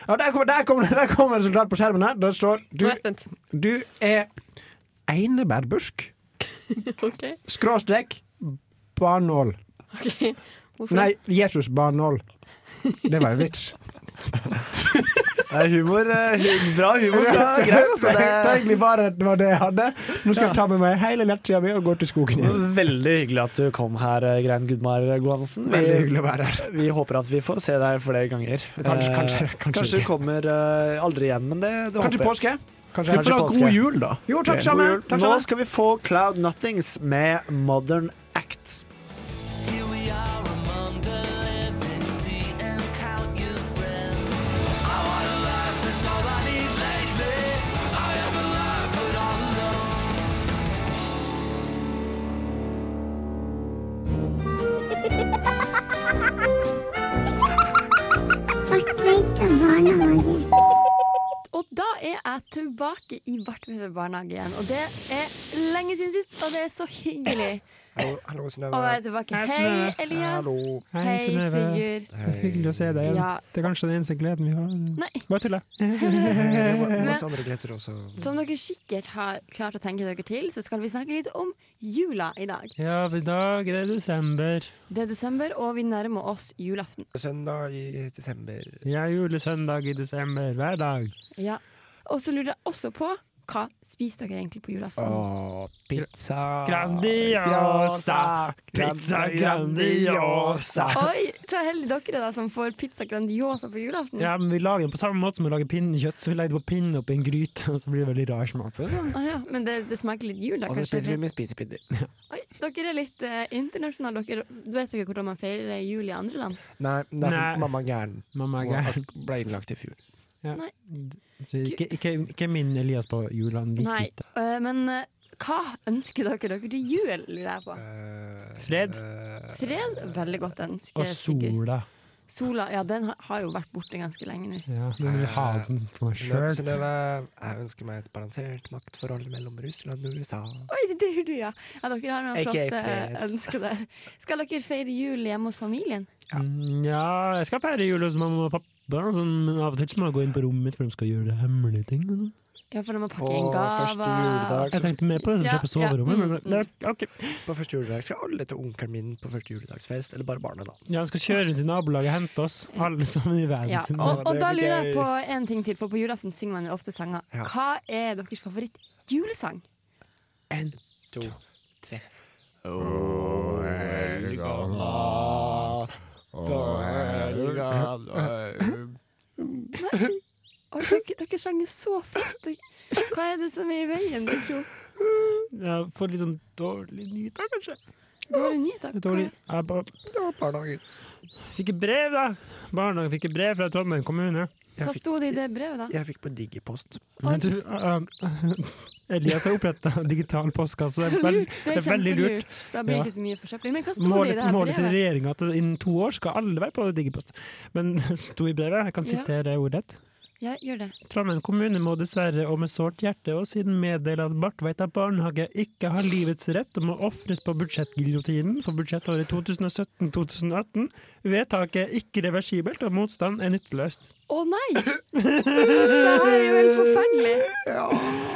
Speaker 2: Ja, der kommer, der kommer, der kommer resultatet på skjermen her. Der står du,
Speaker 3: Nå er jeg spent.
Speaker 2: du er einebærbusk.
Speaker 3: OK.
Speaker 2: Skråstrek barnål.
Speaker 3: ok. Hvorfor?
Speaker 2: Nei, Jesus barnål. Det var en vits.
Speaker 7: Det er humor. eh, hu- Bra humor fra Grein, altså.
Speaker 2: Det var
Speaker 7: Det
Speaker 2: egentlig bare det var det jeg hadde. Nå skal jeg ta med meg hele nettsida mi og gå til skogen igjen.
Speaker 7: Veldig hyggelig at du kom her, eh, Grein Gudmar Gohansen.
Speaker 2: Veldig
Speaker 7: Vi,
Speaker 2: hyggelig å være her.
Speaker 7: vi håper at vi får se deg flere ganger.
Speaker 2: Kanskje-
Speaker 7: Eh,
Speaker 2: Eh, kanskje- kanskje
Speaker 7: kanskje du
Speaker 2: ikke.
Speaker 7: kommer eh, aldri igjen, men det, det
Speaker 2: Kanskje
Speaker 7: håper jeg.
Speaker 2: påske? Kanskje Eh,
Speaker 4: Du får ha
Speaker 7: påske.
Speaker 4: god jul, da.
Speaker 2: Jo, takk
Speaker 4: Ok.
Speaker 2: samme.
Speaker 7: God jul.
Speaker 2: Takk
Speaker 7: Nå
Speaker 2: samme.
Speaker 7: skal vi få Cloud Nothings med Modern Act.
Speaker 8: Here we are among the living, see and count your friends. I want a life, that's all I need lately. I am alive, but all alone.
Speaker 3: Og da er jeg tilbake i Bartvedt barnehage igjen. Og det er lenge siden sist, og det er så hyggelig
Speaker 2: Hallo,
Speaker 3: å være tilbake. Hei, Elias. Hei, Sigurd.
Speaker 2: Hyggelig å se deg
Speaker 3: Ja.
Speaker 2: Det er kanskje den eneste gleden vi har.
Speaker 3: Nei.
Speaker 2: Bare tulla.
Speaker 3: Men
Speaker 11: Masse andre gleder også.
Speaker 3: som dere sikkert har klart å tenke dere til, så skal vi snakke litt om jula i dag.
Speaker 11: Ja, i dag er det desember.
Speaker 3: Det er desember, og vi nærmer oss julaften.
Speaker 11: Søndag i desember.
Speaker 2: Jeg er julesøndag i desember hver dag.
Speaker 3: Ja. Og så lurer jeg også på hva spiser dere egentlig på julaften?
Speaker 11: Åh, pizza.
Speaker 2: Grandiosa! Pizza Grandiosa!
Speaker 3: Oi, så heldige dere da som får pizza Grandiosa på julaften.
Speaker 2: Ja, men Vi lager den på samme måte som vi lager pinnekjøtt. Så vi legger det på pinnen oppi en gryte, og så blir det veldig rar smak. på det.
Speaker 3: Ah, ja. Men det, det smaker litt jul, da.
Speaker 11: Og så
Speaker 3: kanskje?
Speaker 11: spiser vi med spisepinner.
Speaker 3: Oi, dere er litt eh, internasjonale. Dere, vet dere hvordan man feirer jul i andre land?
Speaker 11: Nei, det er
Speaker 2: Nei.
Speaker 11: for mamma er gæren.
Speaker 2: Mamma er
Speaker 11: Hun har-
Speaker 2: gæren.
Speaker 11: Ble innlagt i fjor.
Speaker 2: Så Ikke, ikke, ikke minn Elias på julene like
Speaker 3: Nei,
Speaker 2: lite.
Speaker 3: eh, men eh, hva ønsker dere dere til jul, lurer jeg på?
Speaker 11: Eh,
Speaker 2: Fred.
Speaker 11: eh,
Speaker 3: Fred? Veldig godt ønske.
Speaker 2: Og
Speaker 3: Sigurd.
Speaker 2: sola.
Speaker 3: Sola, ja, den har- har jo vært borte ganske lenge nå.
Speaker 2: Ja, den vil jeg ha den for meg
Speaker 11: Synnøve,
Speaker 2: sjøl.
Speaker 11: Synnøve, jeg ønsker meg et balansert maktforhold mellom Russland og USA.
Speaker 3: Oi, det gjør du, ja. ja! Dere har noen
Speaker 11: Ikke
Speaker 3: flotte
Speaker 11: Fred.
Speaker 3: ønsker der. Skal dere feire jul hjemme hos familien?
Speaker 2: Ja, jeg skal feire jul hos mamma og pappa, sånn, men av og til så må jeg gå inn på rommet mitt, for de skal gjøre hemmelige ting. og sånn.
Speaker 3: Ja, for de må
Speaker 11: På
Speaker 3: pakke inn
Speaker 11: første
Speaker 3: gaver.
Speaker 11: juledag
Speaker 2: Jeg
Speaker 11: så
Speaker 2: tenkte mer på det som skjer på
Speaker 3: Ja, ja,
Speaker 2: soverommet.
Speaker 3: mm,
Speaker 2: Men det er, ok.
Speaker 11: På første juledag skal alle til onkelen min på første juledagsfest, eller bare barna, da.
Speaker 2: Ja, han skal kjøre rundt i nabolaget og hente oss, alle sammen i verden
Speaker 3: Ja,
Speaker 2: sin.
Speaker 3: og, og
Speaker 11: det
Speaker 3: da
Speaker 11: blir
Speaker 3: lurer jeg
Speaker 11: gøy.
Speaker 3: på en ting til, for på julaften synger man jo ofte sanger.
Speaker 11: Ja.
Speaker 3: Hva er deres favoritt-julesang?
Speaker 11: En, to, tre.
Speaker 3: Oi, dere, dere sang jo så fast. Dere- Hva er det som er i veien? dere to?
Speaker 2: Ja, får litt sånn dårlige nyheter, kanskje.
Speaker 3: Dårlige nyheter?
Speaker 2: Dårlig.
Speaker 3: Hva-
Speaker 2: Jeg bare
Speaker 11: Barnehagen.
Speaker 2: fikk et brev, da. Barnehagen fikk et brev fra Trondheim kommune.
Speaker 11: Jeg
Speaker 3: Hva
Speaker 11: fikk,
Speaker 3: sto det i det brevet, da?
Speaker 11: jeg fikk på Digipost.
Speaker 3: Oi.
Speaker 2: Du, uh,
Speaker 4: eh,
Speaker 2: uh, Elias har oppretta digital postkasse. altså, Det er veld-
Speaker 3: Lurt. Det er
Speaker 2: veldig lurt.
Speaker 3: kjempelurt. Da blir
Speaker 2: Ja.
Speaker 3: det ikke så mye forsøpling. Men hva sto det i
Speaker 2: Målet,
Speaker 3: det her
Speaker 2: målet til
Speaker 3: brevet?
Speaker 2: regjeringa at innen to år skal alle være på Digipost. Men det sto i brevet, jeg kan
Speaker 3: Ja.
Speaker 2: sitere ordrett.
Speaker 3: Jeg gjør det.
Speaker 4: Trondheim kommune må dessverre og med sårt hjerte og siden meddele at Bartveita barnehage ikke har livets rett og må ofres på budsjettgiljotinen for budsjettåret 2017-2018. Vedtaket er ikke reversibelt, og motstand er nytteløst.
Speaker 3: Å nei! Det her er jo helt forferdelig.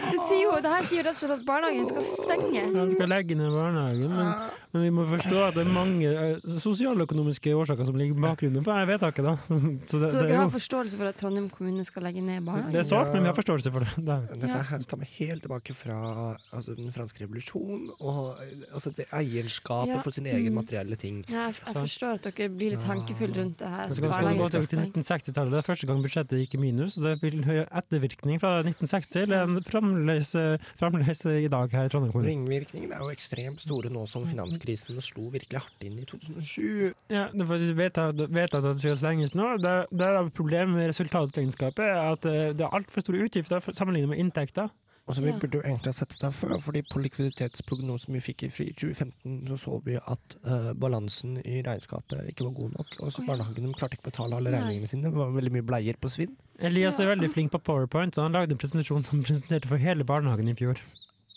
Speaker 3: Det, sier jo, det her sier jo rett og slett at barnehagen skal
Speaker 4: Ja,
Speaker 3: stenge.
Speaker 4: Vi skal legge ned barnehagen, men, men vi må forstå at det er mange eh, sosialøkonomiske årsaker som ligger i bakgrunnen for dette vedtaket. Da. Så det,
Speaker 12: Så
Speaker 4: det,
Speaker 12: dere
Speaker 4: er
Speaker 12: har
Speaker 4: jo,
Speaker 12: forståelse for at Trondheim kommune skal legge ned barnehagen?
Speaker 4: det er sårt, men vi har forståelse for det. det. er vi.
Speaker 12: Ja.
Speaker 7: Dette her tar meg helt tilbake fra altså, den franske revolusjon og eh, altså, det eierskapet
Speaker 12: Ja,
Speaker 7: for sin egen
Speaker 12: mm.
Speaker 7: materielle ting.
Speaker 12: Ja, jeg, jeg forstår at dere blir litt hankefulle rundt det her.
Speaker 4: Men så kan- skal du gå
Speaker 12: Barnehagen
Speaker 4: til
Speaker 12: skal stenge.
Speaker 4: 1960-tallet. Det er første gang budsjettet gikk i minus. og Det vil ha ettervirkning fra 1960 til en fremdeles fremdeles i dag her i Trondheim kommune.
Speaker 7: Ringvirkningene er jo ekstremt store nå
Speaker 12: Mm,
Speaker 7: som finanskrisen slo virkelig hardt inn i 2007.
Speaker 4: Ja, det er faktisk vedtatt, vedtatt at det skal stenges nå. Det, det er da problemet med resultatregnskapet er at eh, det er altfor store utgifter for- sammenlignet med inntekter.
Speaker 7: Og så Vi burde jo egentlig ha sett det der før, fordi på likviditetsprognosen vi fikk i fri 2015, så så vi at eh, balansen i regnskapet ikke var god nok. Og så Barnehagene klarte ikke å betale alle
Speaker 4: Nei.
Speaker 7: regningene sine. Det var veldig mye bleier på svinn.
Speaker 4: Elias er veldig flink på powerpoint, så han lagde en presentasjon som presenterte for hele barnehagen i fjor.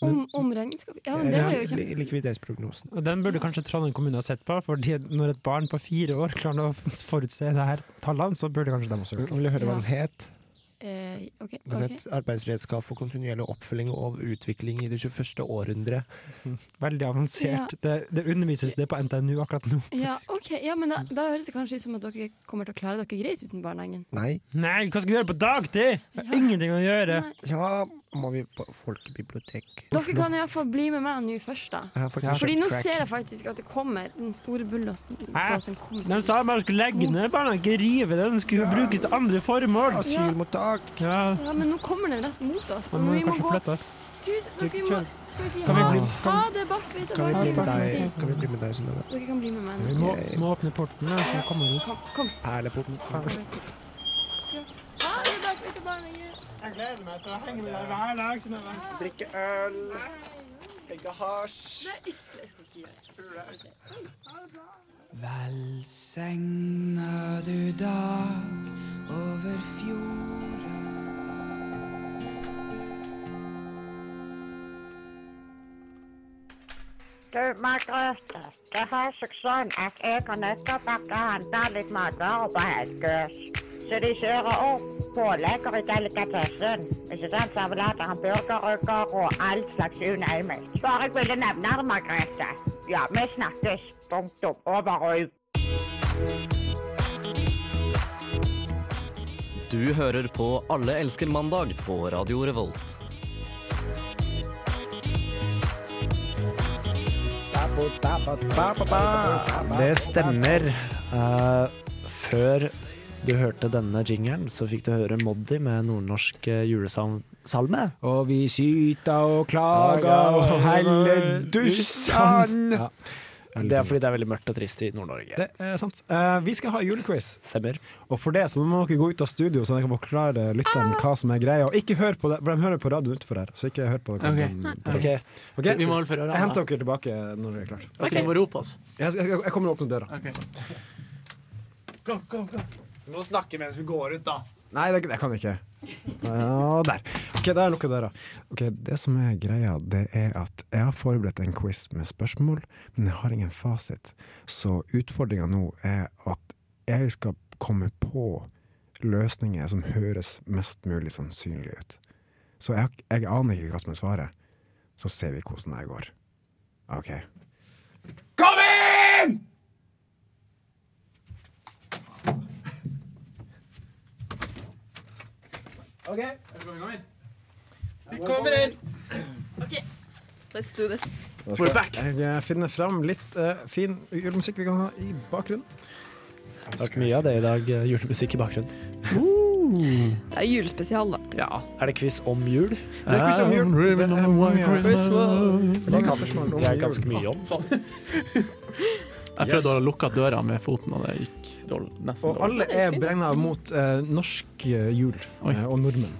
Speaker 3: Om, om regnskap Ja, men det
Speaker 12: Eh,
Speaker 3: var jo kjempe...
Speaker 7: Li- Likviditetsprognosen.
Speaker 4: Og Den burde kanskje Trondheim kommune ha sett på, fordi når et barn på fire år klarer å forutse det her tallene, så burde kanskje de også gjort det.
Speaker 7: Vil du høre hva den het?
Speaker 12: Eh, ok,
Speaker 7: Den
Speaker 12: ok.
Speaker 7: het Arbeidsredskap for kontinuerlig oppfølging og utvikling i det 21. århundre.
Speaker 4: Veldig avansert. Det, det undervises det på NTNU akkurat nå.
Speaker 12: Ja, ok. Ja, men da, da høres det kanskje ut som at dere kommer til å klare dere greit uten barnehagen.
Speaker 7: Nei.
Speaker 4: Nei, hva skal vi gjøre på dagtid?! Det er ingenting å gjøre!
Speaker 7: Ja, må vi på folkebibliotek
Speaker 12: Dere kan iallfall bli med meg nå først, da.
Speaker 7: Jeg har faktisk
Speaker 12: Fordi nå
Speaker 7: kjøpt crack.
Speaker 12: ser jeg faktisk at det kommer. Den store bulldosen
Speaker 4: Hæ?
Speaker 12: dåsen kommer.
Speaker 4: De sa bare skulle legge ned barna, ikke rive den. Den skulle jo brukes til andre formål.
Speaker 7: Asylmottak.
Speaker 4: Ja.
Speaker 12: Ja, men nå kommer den rett mot oss.
Speaker 4: Da
Speaker 12: og
Speaker 4: må
Speaker 12: vi
Speaker 4: vi
Speaker 12: må
Speaker 4: kanskje
Speaker 12: gå
Speaker 4: flytte oss.
Speaker 12: Tusen, dere må, skal vi si
Speaker 4: Kan vi
Speaker 12: ha,
Speaker 4: bli-
Speaker 12: ha det, Bart? Vet du,
Speaker 7: Kan vi
Speaker 12: Bart,
Speaker 7: bli med
Speaker 12: kan vi
Speaker 7: deg,
Speaker 12: si.
Speaker 7: kan vi bli med deg Synnøve?
Speaker 12: Dere kan bli med meg
Speaker 4: Vi
Speaker 12: nå.
Speaker 4: må, må åpne porten, da, så kommer vi
Speaker 12: Kom, kom.
Speaker 7: Perleporten.
Speaker 12: Si Ha det, Bart, vet du, barnehagen.
Speaker 4: Jeg gleder meg til å henge med deg hver dag.
Speaker 7: Drikke øl. Legge hasj.
Speaker 12: Nei, det skal vi ikke gjøre. Ha det bra.
Speaker 13: Velsigna du dag over fjorden.
Speaker 6: Du, Margrethe, det har seg sånn at jeg har nettopp vært og handla litt matvarer på Helgøs. Så de kjører opp pålegger i delikatessen. Ikke sant? Servelater, hamburgerrygger og all slags unøyelig. Bare jeg ville nevne det, Margrethe. Ja, vi snakkes. Punktum. Over og ut.
Speaker 11: Du hører på Alle elsker mandag på Radio Revolt.
Speaker 14: Det stemmer. Eh, før du hørte denne jingeren, så fikk du høre Moddi med nordnorsk eh, julesalme.
Speaker 15: Og vi syta og
Speaker 2: Ja.
Speaker 14: Det er fordi det er veldig mørkt og trist i Nord-Norge.
Speaker 2: Det er sant. Eh, vi skal ha julequiz.
Speaker 14: Stemmer.
Speaker 2: Og for det så må dere gå ut av studio, så dere kan forklare lytteren hva som er greia. Og ikke hør på det, for de hører på radioen utenfor her. Så ikke hør på det.
Speaker 16: Ok. Ok.
Speaker 2: Ok?
Speaker 16: Vi må holde for ørene, da.
Speaker 2: Jeg henter dere tilbake når dere er klare.
Speaker 16: Ok, Du må rope oss.
Speaker 2: Jeg, jeg, jeg kommer og åpner døra.
Speaker 14: Go, go, go. Du må snakke mens vi går ut, da.
Speaker 2: Nei, det, det kan jeg ikke. Ja, der. Ok, der lukker døra. Ok, Det som er greia, det er at jeg har forberedt en quiz med spørsmål, men jeg har ingen fasit. Så utfordringa nå er at jeg skal komme på løsninger som høres mest mulig sannsynlig ut. Så jeg, jeg aner ikke hva som er svaret. Så ser vi hvordan det her går. OK.
Speaker 13: Kom inn!
Speaker 2: Ok.
Speaker 16: Vi kommer inn!
Speaker 3: Ok, let's do this.
Speaker 2: Da skal Jeg finner fram litt eh, fin julemusikk vi kan ha i bakgrunnen.
Speaker 14: Det har vært mye av det i dag. eh, Julemusikk i bakgrunnen.
Speaker 3: Det er julespesial, da.
Speaker 14: Ja. Er det quiz om jul?
Speaker 3: Det er quiz om jul.
Speaker 14: Det er,
Speaker 3: White Christmas.
Speaker 14: det er,
Speaker 2: Spørsmål
Speaker 14: ganske,
Speaker 2: om
Speaker 14: det er
Speaker 2: jul.
Speaker 14: ganske mye om.
Speaker 16: Jeg prøvde å lukke døra med foten, og det gikk dårlig. nesten
Speaker 2: Og
Speaker 16: dårlig.
Speaker 2: alle er beregna mot eh, norsk eh, jul
Speaker 16: Oi.
Speaker 2: eh, og nordmenn.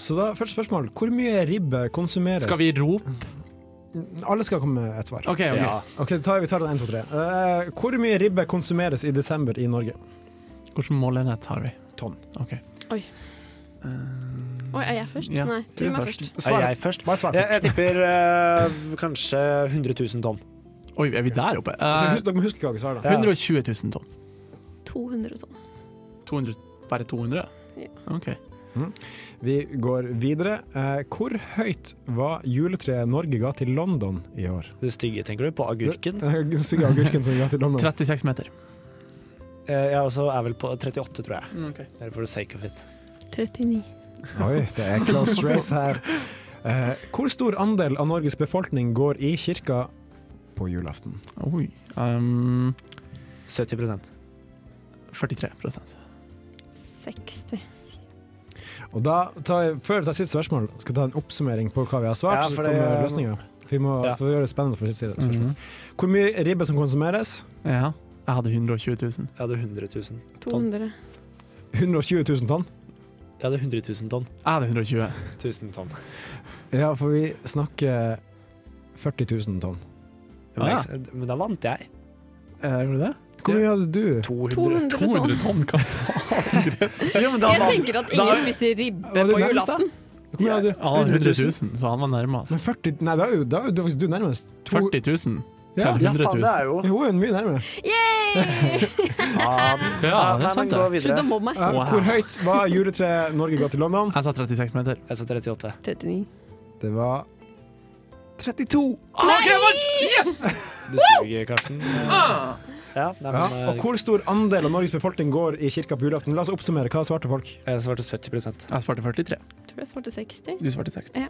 Speaker 2: Så da, første spørsmål. Hvor mye ribbe konsumeres
Speaker 16: Skal vi rope?
Speaker 2: Alle skal komme med et svar.
Speaker 16: Ok, ok. Ja.
Speaker 2: Ok, da tar, vi tar den 1, 2, 3. Eh, hvor mye ribbe konsumeres i desember i Norge?
Speaker 16: Hvilken målenhet har vi?
Speaker 2: Tonn.
Speaker 16: Ok.
Speaker 3: Oi.
Speaker 4: Eh,
Speaker 3: Oi, er jeg først?
Speaker 7: Ja,
Speaker 3: Nei,
Speaker 7: du
Speaker 3: Trym
Speaker 7: er
Speaker 3: er
Speaker 7: først.
Speaker 3: først.
Speaker 7: Er jeg først?
Speaker 2: Bare svar eh,
Speaker 7: Jeg, jeg tipper eh, kanskje 100 000 tonn.
Speaker 4: Oi, er vi der oppe? Eh,
Speaker 2: Dere hus- dere må huske hva jeg svarer, da.
Speaker 4: 120 000 tonn.
Speaker 3: 200 sånn. tonn.
Speaker 4: 200, bare 200?
Speaker 3: Ja.
Speaker 4: OK.
Speaker 2: Mm. Vi går videre. Eh, hvor høyt var juletreet Norge ga til London i år?
Speaker 7: Det stygge, tenker du? På agurken?
Speaker 2: Den stygge agurken som vi ga til London.
Speaker 4: 36 meter.
Speaker 7: Eh, jeg også
Speaker 14: altså,
Speaker 7: er vel på 38, tror jeg.
Speaker 4: Mm, ok.
Speaker 7: Det er for the sake of it.
Speaker 3: 39.
Speaker 2: Oi, det er close race her. Eh, hvor stor andel av Norges befolkning går i kirka på julaften?
Speaker 4: Oi. Um,
Speaker 7: 70
Speaker 4: 43
Speaker 3: 60.
Speaker 2: Og da tar jeg, Før vi tar siste spørsmål, skal jeg ta en oppsummering på hva vi har svart.
Speaker 7: Ja,
Speaker 2: så
Speaker 7: for det-
Speaker 2: kommer løsninga. Vi må
Speaker 7: Ja. Mhm.
Speaker 2: for å gjøre det spennende for siste spørsmål. Hvor mye ribbe som konsumeres?
Speaker 4: Ja. Jeg hadde 120 000.
Speaker 7: Jeg hadde 100 000 tonn.
Speaker 3: 200.
Speaker 2: 120 000 tonn.
Speaker 7: Jeg hadde 100 000 tonn.
Speaker 4: Jeg hadde 120.
Speaker 7: 1000 tonn.
Speaker 2: Ja, for vi snakker 40 000 tonn.
Speaker 7: Men,
Speaker 2: Ja.
Speaker 7: jeg, eh, men da vant jeg.
Speaker 4: Eh, Gjorde du det?
Speaker 2: Hvor mye hadde du?
Speaker 3: 200
Speaker 7: 200,
Speaker 4: tonn, hva faen?
Speaker 3: Jeg
Speaker 7: men
Speaker 3: tenker at ingen spiser ribbe
Speaker 2: Var du
Speaker 3: på
Speaker 2: nærmest, da?
Speaker 3: julaften.
Speaker 2: Hvor mye hadde du?
Speaker 4: Han hadde 100 000, så han var nærmest.
Speaker 2: Men 40 Nei, da er jo, da er jo faktisk du nærmest.
Speaker 4: 40 000 til
Speaker 2: Ja.
Speaker 4: 100 000.
Speaker 2: Jo, hun er mye nærmere.
Speaker 7: Ah.
Speaker 3: Ah.
Speaker 4: Ja, det er sant, det.
Speaker 3: Slutt å mobbe meg.
Speaker 2: Eh,
Speaker 4: Wow.
Speaker 2: Hvor høyt var juletreet Norge ga til London?
Speaker 4: Jeg sa 36 meter.
Speaker 7: Jeg sa 38.
Speaker 3: 39.
Speaker 2: Det var 32.
Speaker 7: Du suger, Karsten.
Speaker 4: Ah!
Speaker 7: Ja, nei,
Speaker 2: Ja,
Speaker 7: men, eh,
Speaker 2: og hvor stor andel av Norges befolkning går i kirka på julaften? La oss oppsummere. Hva svarte folk?
Speaker 7: Jeg svarte 70
Speaker 4: Jeg svarte 43.
Speaker 3: Tror jeg svarte 60.
Speaker 4: Du svarte 60.
Speaker 3: Ja.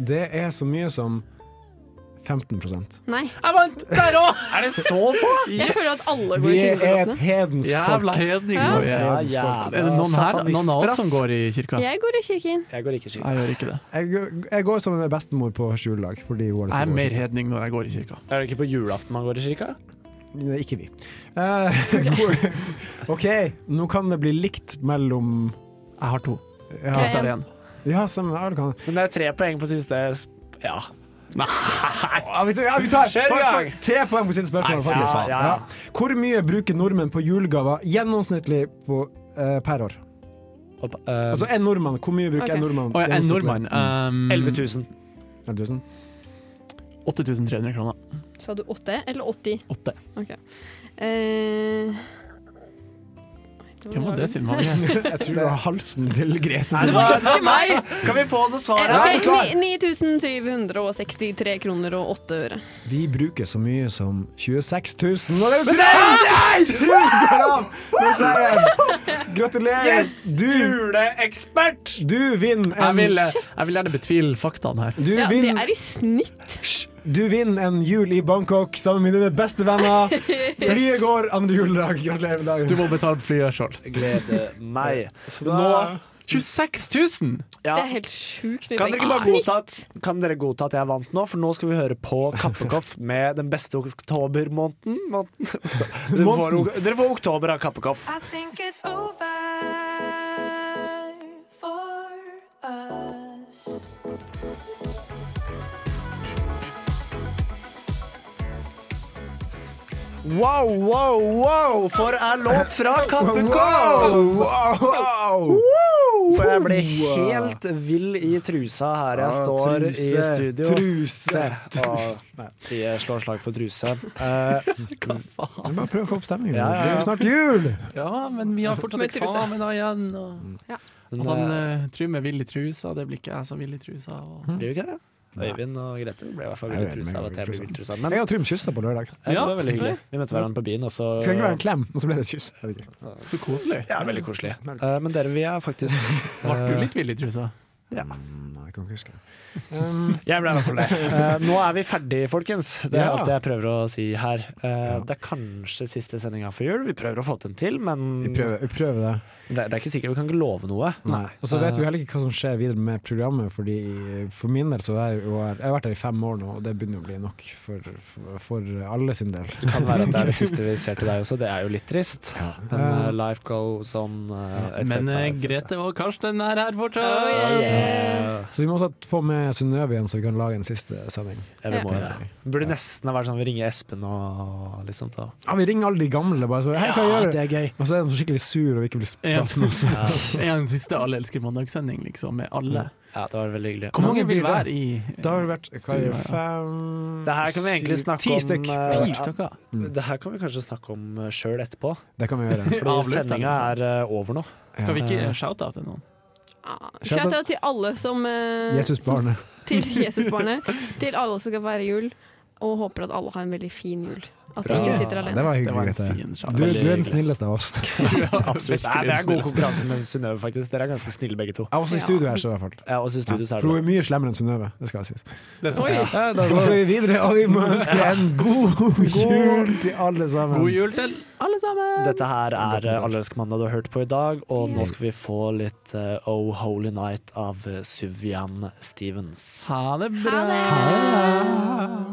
Speaker 2: Det er så mye som 15
Speaker 3: Nei.
Speaker 4: Jeg vant der òg!
Speaker 7: Er det så få?
Speaker 3: Jeg føler at alle går
Speaker 2: Vi
Speaker 3: i
Speaker 2: er et
Speaker 3: kirkeloftene.
Speaker 2: hedensk folk.
Speaker 4: Jævla hedninger.
Speaker 3: Ja.
Speaker 4: vi
Speaker 2: Ja,
Speaker 4: er.
Speaker 2: jævla
Speaker 4: Er det noen her, noen av oss som
Speaker 2: satanister,
Speaker 4: går i kirka?
Speaker 3: Jeg går i kirken.
Speaker 7: Jeg går ikke i kirka.
Speaker 4: Jeg gjør ikke det.
Speaker 2: Jeg, jeg går sammen med bestemor på skjuledag. Fordi hun har lyst til
Speaker 4: Jeg er
Speaker 2: å gå i
Speaker 4: mer hedning når jeg går i kirka.
Speaker 7: Er det ikke på julaften man går i kirka?
Speaker 2: kirka. Nei, Ikke vi. Eh, hvor- OK, nå kan det bli likt mellom
Speaker 4: Jeg har to.
Speaker 2: Ja,
Speaker 4: Jeg tar én.
Speaker 2: ja stemmer. Ja, det kan.
Speaker 7: Men det er tre poeng på siste. Ja. Nei!
Speaker 2: Ja, vi tar, ja, vi tar
Speaker 7: Kjør i
Speaker 2: bare for-
Speaker 7: gang!
Speaker 2: tre poeng på siste spørsmål.
Speaker 7: Nei, fy
Speaker 2: faktisk.
Speaker 7: faen.
Speaker 2: Ja. Hvor mye bruker nordmenn på julegaver gjennomsnittlig på, eh, per år?
Speaker 7: Eh,
Speaker 2: Altså en nordmann, hvor mye bruker
Speaker 3: Ok.
Speaker 2: en nordmann? Mm.
Speaker 4: Å, jeg er en nordmann. Um,
Speaker 7: 11 000.
Speaker 2: 11 000.
Speaker 4: 8300 kroner.
Speaker 3: Sa du 8 eller 80?
Speaker 4: Åtte.
Speaker 3: Ok. Eh,
Speaker 4: Hvem var det sin mange?
Speaker 2: Jeg tror det var halsen til Grete.
Speaker 7: Nei, det var ikke meg! Kan vi få noe svar?
Speaker 3: Eh,
Speaker 7: her?
Speaker 3: ok, ni- 9763 kroner og 8 øre.
Speaker 2: Vi bruker så mye som 26 000 og det betyr Nei! Gram! Med seieren! Gratulerer! Du,
Speaker 7: Juleekspert!
Speaker 2: du vinner
Speaker 4: Jeg vil,
Speaker 2: en
Speaker 4: jeg vil gjerne betvile faktaene her.
Speaker 2: du
Speaker 3: Ja, det
Speaker 2: vinner,
Speaker 3: er i snitt.
Speaker 2: du vinner en jul i Bangkok sammen med dine beste venner. Flyet går andre juledag. Gratulerer med
Speaker 4: Du
Speaker 2: dagen.
Speaker 4: må betale flyet sjøl.
Speaker 7: Gleder meg. Nå
Speaker 2: Da-
Speaker 4: 26 000!
Speaker 7: ja.
Speaker 3: Det er helt sjukt mye
Speaker 7: kan dere,
Speaker 3: penger.
Speaker 7: ikke bare godta at, kan dere godta at jeg vant nå? For nå skal vi høre på Kappekoff med den beste oktobermåneden. Måneden. Dere, får ok- dere får oktober av Kappekoff.
Speaker 5: I think it's over for us.
Speaker 7: Wow, wow, wow, for ei låt fra Kappekoff!
Speaker 2: wow.
Speaker 7: Og jeg ble helt vill i trusa her jeg står i
Speaker 2: truse,
Speaker 7: studio.
Speaker 2: truse, truse. Nei.
Speaker 7: Og de slår slag for truse. Eh,
Speaker 2: Du må bare prøve å få opp stemningen.
Speaker 7: Ja, ja,
Speaker 2: Det er
Speaker 7: ja.
Speaker 2: jo snart jul!
Speaker 4: Ja, men vi har fortsatt
Speaker 3: Med truse.
Speaker 4: eksamen da igjen. Og,
Speaker 7: men,
Speaker 4: og han
Speaker 7: eh,
Speaker 4: eh, Trym er vill i trusa, det blir ikke jeg så vill i trusa. Og.
Speaker 7: blir du ikke det? eh, Øyvind og Grete ble i hvert fall vill i trusa av at jeg ble vill i trusa. Men
Speaker 2: Jeg og Trym kyssa på lørdag.
Speaker 7: eh, det
Speaker 4: Ja.
Speaker 7: var veldig hyggelig. Vi møtte hverandre på byen, og så
Speaker 2: Skal det ikke være en klem, og så ble det et kyss? Jeg vet ikke.
Speaker 4: Så koselig.
Speaker 7: ja, veldig koselig. Eh, men dere, vi er faktisk Eh,
Speaker 4: Ble du litt vill i trusa?
Speaker 2: Mm, Nei, jeg kan ikke huske. Um,
Speaker 7: Jeg ble i hvert fall det. Eh, nå er vi ferdig, folkens. Det er
Speaker 4: Ja.
Speaker 7: alt jeg prøver å si her. Eh, Det er kanskje siste sendinga for jul. Vi prøver å få til en til, men
Speaker 2: Vi
Speaker 7: det,
Speaker 2: prøver, vi prøver det.
Speaker 7: det er ikke sikkert vi kan ikke love noe.
Speaker 2: Nei. Og så vet vi heller ikke hva som skjer videre med programmet, fordi for min del så er jeg jo her Jeg har vært her i fem år nå, og det begynner å bli nok for, for, for alle sin del.
Speaker 7: Det kan være at det er det siste vi ser til deg også. Det er jo litt trist. Men eh, life goes on, eh, et
Speaker 4: Men
Speaker 7: cetera,
Speaker 4: eh,
Speaker 7: et cetera.
Speaker 4: Grete og Karsten er her fortsatt.
Speaker 3: Oh,
Speaker 7: Eh,
Speaker 3: yeah.
Speaker 2: Så vi må også få med Synnøve igjen, så vi kan lage en siste sending.
Speaker 7: Ja, vi må
Speaker 3: Ja.
Speaker 7: jo det. Det Burde nesten ha vært sånn vi ringer Espen og liksom litt sånt. Da.
Speaker 2: Ja, Vi ringer alle de gamle, bare så Hei, hva gjør du?
Speaker 7: det er gøy.
Speaker 2: Og så er de så skikkelig sur og vil ikke bli spurt. plassen også.
Speaker 4: En siste Alle elsker mandagssending, liksom, med alle.
Speaker 7: Ja, det var veldig hyggelig.
Speaker 4: Hvor mange vil være i
Speaker 2: Da har det vært hva er det, fem
Speaker 7: Det her kan vi egentlig
Speaker 2: syv,
Speaker 7: snakke
Speaker 2: ti
Speaker 7: om
Speaker 2: stykk.
Speaker 7: eh,
Speaker 4: Ti stykker.
Speaker 7: Det her kan vi kanskje snakke om eh, sjøl etterpå.
Speaker 2: Det kan vi gjøre.
Speaker 7: Fordi
Speaker 4: Avløft,
Speaker 7: sendinga
Speaker 4: eller
Speaker 7: er eh, over nå.
Speaker 4: Skal vi ikke shout-out til noen?
Speaker 3: Ah, Shout out til alle som eh,
Speaker 2: Jesusbarnet.
Speaker 3: som- Til Jesusbarnet. til alle som skal feire jul, og håper at alle har en veldig fin jul. At
Speaker 2: Bra.
Speaker 3: ingen sitter alene.
Speaker 2: Det var hyggelig,
Speaker 4: Det var en
Speaker 2: Grete.
Speaker 4: fin
Speaker 2: Du,
Speaker 7: Veldig
Speaker 2: du er den
Speaker 7: hyggelig.
Speaker 2: snilleste av oss.
Speaker 7: Absolutt. Nei, det er god
Speaker 2: Snilleste.
Speaker 7: konkurranse med Synnøve, faktisk. Dere er ganske snille begge to.
Speaker 2: Ja, også i studio her, så i hvert fall.
Speaker 7: Ja, også i studio så
Speaker 2: For
Speaker 7: er det
Speaker 2: hun er mye slemmere enn Synnøve, det skal sies.
Speaker 4: Det er sant.
Speaker 2: Ja,
Speaker 4: Oi.
Speaker 2: da går vi videre, og vi må ønske en god jul til alle sammen.
Speaker 7: God jul
Speaker 4: til alle sammen!
Speaker 7: Dette her er eh, Alle elsker mandag du har hørt på i dag, og nå skal vi få litt eh, Oh Holy Night av eh, Suvjan Stevens.
Speaker 4: Ha det bra!
Speaker 7: Ha det bra.